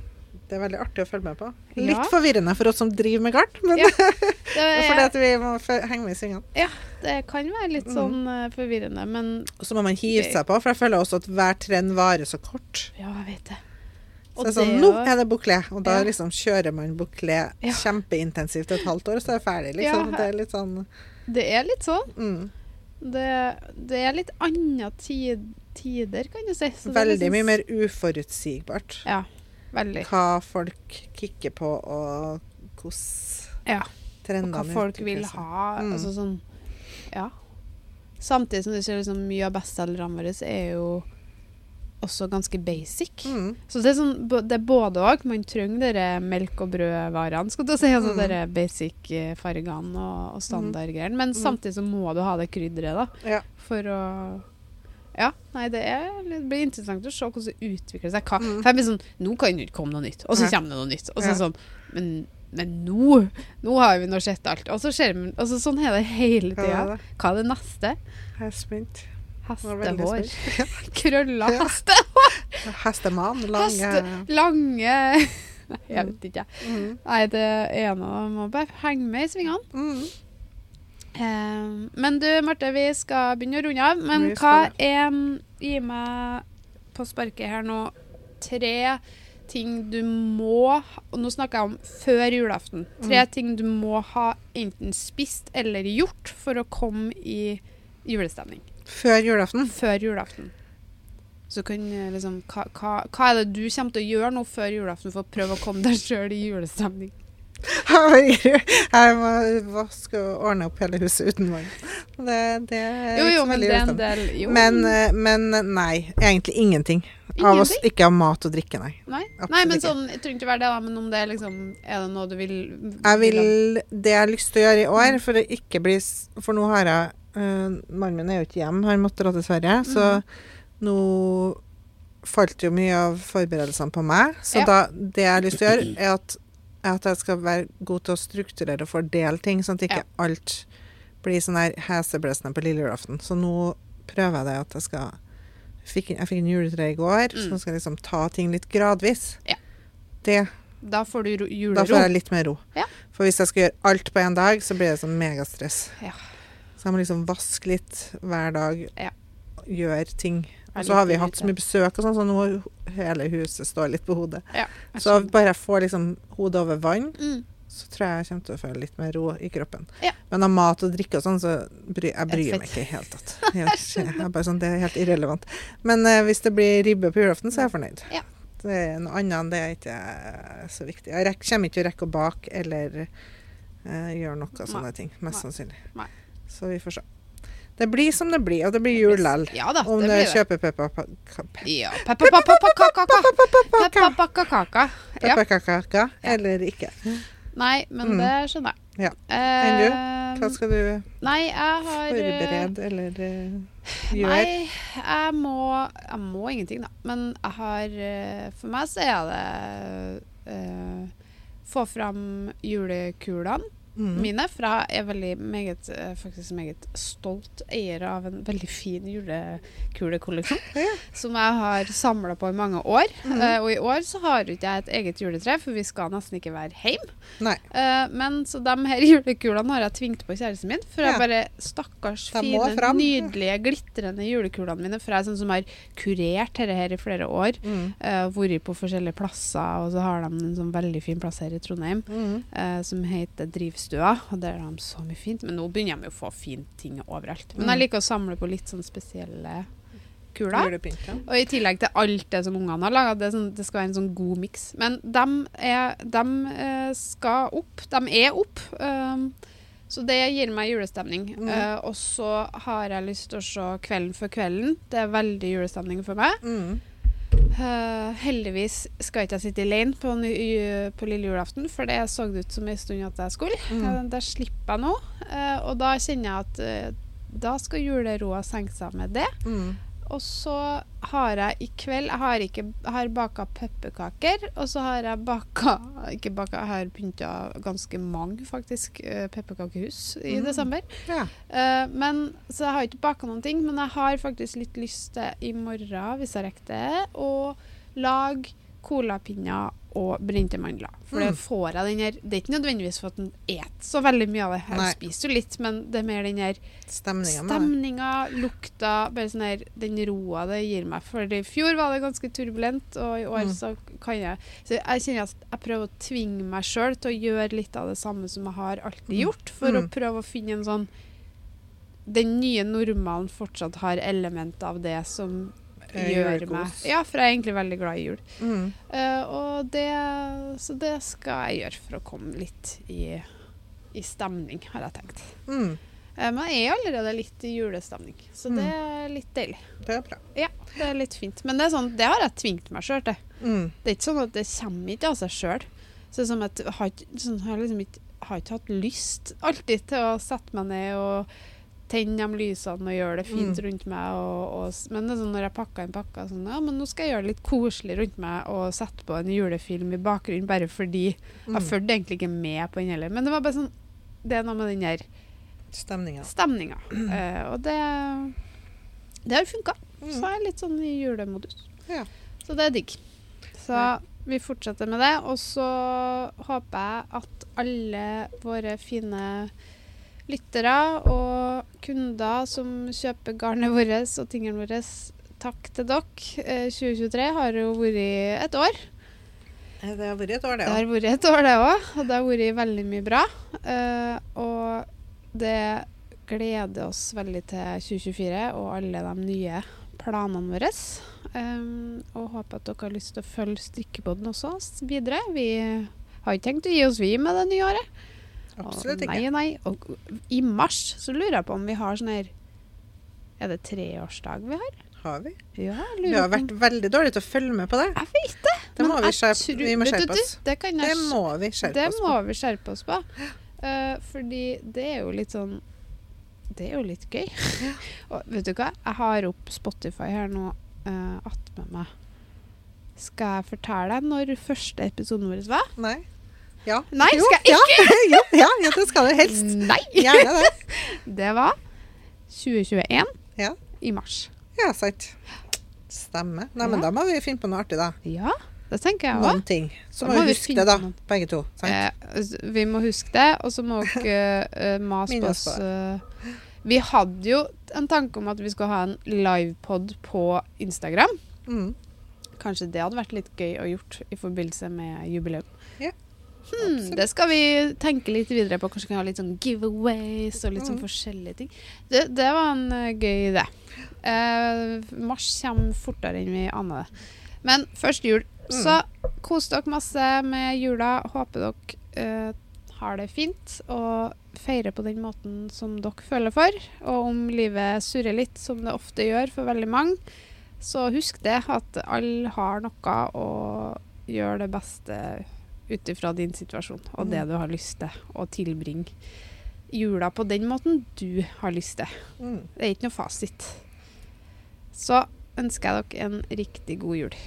B: Det er veldig artig å følge med på.
A: Ja.
B: Litt forvirrende for oss som driver med garn, men
A: Ja, Det,
B: det er fordi
A: er,
B: at Mm. vi må fø- henge med i svingene.
A: det kan være litt sånn eh, forvirrende, men
B: Og så må man hive
A: Gøy.
B: seg på, for jeg føler også at hver trend varer så kort.
A: ja, jeg vet det.
B: Så
A: Og
B: det er
A: det
B: sånn,
A: er
B: Nå
A: jo-
B: er det bouclé, og da
A: Ja.
B: liksom kjører man bouclé
A: Ja.
B: kjempeintensivt et halvt år, og så er det ferdig, liksom.
A: Ja.
B: Det er litt sånn
A: Det er litt sånn.
B: mm,
A: Det, det er litt andre tid, tider, kan du si. Så det er
B: Veldig
A: liksom-
B: mye mer uforutsigbart
A: Ja, veldig.
B: hva folk kikker på, og hvordan
A: Ja. Og
B: trendene
A: hva folk
B: utvikler
A: vil
B: seg.
A: ha.
B: Mm.
A: Altså sånn Ja. Samtidig som du ser liksom, mye av bestselgerne våre er jo også ganske basic.
B: Mm,
A: Så det er, sånn, bo- det er både òg. Man trenger dere melk- og brødvarene, skal du si. Altså
B: Mm.
A: dere basic-fargene og, og standardgreiene. Men
B: Mm.
A: samtidig så må du ha det krydderet, da.
B: Ja.
A: For å ja, nei, det, er, litt- det blir interessant å se hvordan det utvikler seg. Hva,
B: Mm.
A: for jeg blir sånn, Nå kan det jo ikke komme noe nytt, og så
B: Ja.
A: kommer det noe nytt. Og så
B: Ja.
A: sånn, men, men nå nå har vi nå sett alt. Og så ser vi, og så sånn er det hele
B: hva er
A: tida.
B: det?
A: Hva er det neste?
B: Jeg er spent. Jeg er veldig
A: Hestehår.
B: spent.
A: Krølla
B: Ja.
A: heste.
B: Hestemann. Lange
A: Heste- Lange Nei, jeg
B: Mm.
A: vet ikke.
B: mm,
A: Nei, det er noe Må bare henge med i svingene.
B: mm.
A: Eh, men du, Marte, vi skal begynne å runde av. Men
B: Vi
A: hva
B: skal
A: er Gi meg på sparket her nå tre ting du må Og nå snakker jeg om før julaften. Tre
B: Mm.
A: ting du må ha enten spist eller gjort for å komme i julestemning.
B: Før julaften.
A: Før julaften. Så kan eh, liksom hva, hva, hva er det du kommer til å gjøre nå før julaften for å prøve å komme deg sjøl i julestemning?
B: Jeg må vaske og ordne opp hele huset uten vann. Det, det er
A: Jo,
B: ikke
A: jo,
B: så
A: men
B: veldig
A: det er en
B: julestemning.
A: del jo.
B: Men, eh, men nei, egentlig ingenting. Av oss
A: Ingenting?
B: ikke ha mat og drikke, nei.
A: Nei,
B: Absolutt
A: Nei men
B: ikke.
A: sånn, jeg tror ikke det var det, da, men om det er liksom Er det noe du vil
B: Jeg vil det jeg har lyst til å gjøre i år, for å ikke bli s- For nå har jeg eh, Mannen min er jo ikke hjemme, han måtte dra til Sverige. Så
A: Mhm.
B: nå falt jo mye av forberedelsene på meg. Så
A: Ja.
B: da, det jeg har lyst til å gjøre, er at, er at jeg skal være god til å strukturere og fordele ting, sånn at ikke
A: Ja.
B: alt blir sånn her heseblesende på lille julaften. Så nå prøver jeg det at jeg skal fikk, Jeg fikk en juletre i går, så
A: Mm.
B: nå skal jeg liksom ta ting litt gradvis.
A: Ja.
B: Det
A: Da får du ro-
B: da
A: julero.
B: får jeg litt mer ro.
A: Ja.
B: For hvis jeg skal gjøre alt på én dag, så blir det sånn megastress.
A: Ja.
B: Så jeg må liksom vaske litt hver dag.
A: Ja.
B: Gjøre ting. Jeg
A: Jeg
B: Og så har
A: liker
B: vi hatt så
A: lite.
B: mye besøk, og sånn, så nå hele huset står litt på hodet.
A: Jeg
B: Så
A: skjønner.
B: bare jeg får liksom hodet over vann,
A: mm.
B: så tror jeg jeg kommer til å føle litt mer ro i kroppen.
A: Ja.
B: Men av mat og drikke og sånn, så bry, jeg bryr
A: Jeg
B: meg ikke i det hele tatt. Jeg, jeg, er bare sånn, det er helt irrelevant. Men eh, hvis det blir ribbe på julaften, så er jeg fornøyd.
A: Ja.
B: Det er noe annet enn det er ikke så viktig. Jeg rekk, kommer ikke til å rekke å bake eller eh, gjøre noe sånne ting, mest sannsynlig.
A: Nei.
B: Så vi får se. Det blir som det blir, og det blir jul lell.
A: Ja da,
B: Om
A: det
B: du
A: blir det.
B: kjøper pepperkaker
A: Ja. Peppa-peppa-peppa-kaka. Peppa-peppa-kaka. Ja. Ja.
B: eller ikke.
A: Nei, men
B: Mm.
A: det skjønner jeg.
B: Ja.
A: Eh,
B: Hva skal du
A: nei, jeg har eh,
B: forberede eller eh, gjøre?
A: Nei, jeg må, jeg må ingenting, da. Men jeg har eh, For meg så er det eh, Få fram julekulene
B: Mm.
A: mine. For jeg er veldig meget, eh, faktisk meget stolt eier av en veldig fin julekulekolleksjon.
B: Ja.
A: Som jeg har samla på i mange år.
B: Mhm.
A: Eh, og i år så har jo ikke jeg et eget juletre, for vi skal nesten ikke være hjemme.
B: Nei.
A: Eh, men så de her julekulene har jeg tvingt på kjæresten min. For jeg
B: Ja.
A: bare Stakkars
B: De må
A: fine,
B: fram.
A: nydelige, glitrende julekulene mine. For jeg er sånn som har kurert dette her i flere år.
B: Mm.
A: Uh, vært på forskjellige plasser, og så har de en sånn veldig fin plass her i Trondheim
B: Mm.
A: eh, som heter Drivstua. Og der har de så mye fint. Men nå begynner de jo å få fine ting overalt. Men
B: Mm.
A: jeg liker å samle på litt sånn spesielle kuler.
B: Julepynt, ja.
A: Og i tillegg til alt det som ungene har laga, det, er sånn, det skal være en sånn god miks. Men dem, er, dem eh, skal opp. Dem er opp. Um, så det gir meg julestemning.
B: Mm.
A: Eh, og så har jeg lyst til å se 'Kvelden før kvelden'. Det er veldig julestemning for meg.
B: Mm.
A: Eh, heldigvis skal ikke jeg sitte alene på, ny- ju- på lille julaften, for det så det ut som en stund at jeg skulle.
B: Mm.
A: Eh, det slipper jeg nå. Eh, og da kjenner jeg at eh, da skal juleroa senke seg med det.
B: Mm.
A: Og så har jeg i kveld Jeg har, ikke, jeg har baka pepperkaker, og så har jeg baka Ikke baka, jeg har pynta ganske mange, faktisk, eh, pepperkakehus i
B: Mm.
A: desember.
B: ja.
A: Eh, men, så jeg har ikke baka noen ting, men jeg har faktisk litt lyst til i morgen, hvis jeg rekker det, å lage colapinner og brente mandler. For det
B: Mm.
A: får jeg den her Det er ikke nødvendigvis for at en et så veldig mye av det.
B: Nei.
A: Jeg spiser jo litt, men det er mer den her
B: Stemninga med det.
A: stemninga, lukta, bare sånn her Den roa det gir meg. For i fjor var det ganske turbulent, og i år
B: Mm.
A: så kan jeg Så jeg kjenner at jeg prøver å tvinge meg sjøl til å gjøre litt av det samme som jeg har alltid
B: Mm.
A: gjort, for å
B: Mm.
A: prøve å finne en sånn Den nye normalen fortsatt har element av det som
B: Eh,
A: gjør meg
B: julekos.
A: Ja, for jeg er egentlig veldig glad i jul.
B: Mm.
A: Eh, og det Så det skal jeg gjøre for å komme litt i, i stemning, har jeg tenkt.
B: Mm.
A: Eh, Men jeg er allerede litt i julestemning, så det er litt deilig.
B: Det er bra.
A: Det er litt fint. Men det, er sånn, det har jeg tvingt meg sjøl til.
B: Mm.
A: Det er ikke sånn at det kommer ikke av seg sjøl. Så det er som at jeg har, ikke- sånn, har jeg liksom ikke, har ikke hatt lyst alltid til å sette meg ned og tenne de lysene og gjøre det fint
B: Mm.
A: rundt meg. Og, og, s- men det er sånn når jeg pakker inn pakker sånn, ja, men nå skal jeg gjøre det litt koselig rundt meg og sette på en julefilm i bakgrunnen bare fordi
B: Mm.
A: Jeg fulgte egentlig ikke med på den heller. Men det var bare sånn Det er noe med den her
B: Stemninga.
A: stemninga. Eh, og det Det har funka. Så
B: Mm.
A: jeg er litt sånn i julemodus.
B: Ja.
A: Så det er digg. Så
B: Ja.
A: vi fortsetter med det. Og så håper jeg at alle våre fine lyttere og kunder som kjøper garnet vårt og tingene våre, takk til dere. Eh, 2023 har jo vært et år.
B: Eh, Det har vært et år, det
A: Det
B: òg.
A: har vært et år, det òg. Og det har vært veldig mye bra. Eh, og det gleder oss veldig til 2024 og alle de nye planene våre. Um, og håper at dere har lyst til å følge strikkepodden også s- videre. Vi har ikke tenkt å gi oss, vi, med det nye året.
B: Absolutt
A: og,
B: ikke.
A: Nei, nei. Og i mars så lurer jeg på om vi har sånn her Er det treårsdag vi har?
B: Har vi?
A: Ja, jeg
B: Vi
A: lurer
B: har
A: på om-
B: vært veldig dårlige til å følge med på det.
A: Jeg vet
B: Det må
A: men
B: vi
A: jeg
B: skjerpe,
A: tror-
B: vi må
A: vet du,
B: skjerpe oss.
A: Det kan jeg
B: Det må vi skjerpe
A: det
B: oss
A: må
B: på.
A: vi skjerpe oss på. Eh, fordi det er jo litt sånn Det er jo litt gøy. Og vet du hva? Jeg har opp Spotify her nå uh, attmed meg. Skal jeg fortelle deg når første episoden vår var?
B: Nei. Ja.
A: Nei,
B: Jo,
A: skal jeg
B: Ja, ja, ja, ja, det skal du helst.
A: Nei!
B: Gjerne det.
A: Det var 2021
B: Ja.
A: i mars.
B: Ja, sant. Stemmer. Nei, men
A: Ja.
B: da må vi finne på noe artig, da.
A: Ja, det tenker jeg òg.
B: Noen ting. Så
A: Da
B: må
A: må vi
B: vi huske
A: finne
B: det, da.
A: på noen.
B: Begge to. Sant?
A: Eh, s- vi må huske det, og så må dere eh, mase
B: Minne
A: på
B: oss
A: oss
B: på
A: eh, Vi hadde jo en tanke om at vi skulle ha en livepod på Instagram.
B: Mm.
A: Kanskje det hadde vært litt gøy å gjort i forbindelse med jubileum.
B: Ja,
A: Hmm, det skal vi tenke litt videre på. Kanskje vi kan ha litt sånn giveaways og litt sånn
B: Mm.
A: forskjellige ting. Det, det var en eh, gøy idé. Eh, mars kommer fortere enn vi aner det. Men først jul.
B: Mm.
A: Så kos dere masse med jula. Håper dere eh, har det fint og feirer på den måten som dere føler for. Og om livet surrer litt, som det ofte gjør for veldig mange, så husk det at alle har noe og gjør det beste ut ifra din situasjon og det du har lyst til å tilbringe jula på den måten du har lyst til.
B: Mm.
A: Det er ikke noe fasit. Så ønsker jeg dere en riktig god jul.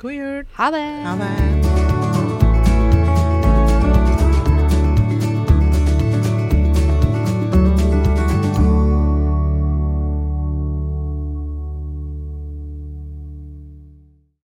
B: God jul.
A: Ha det!
B: Ha det.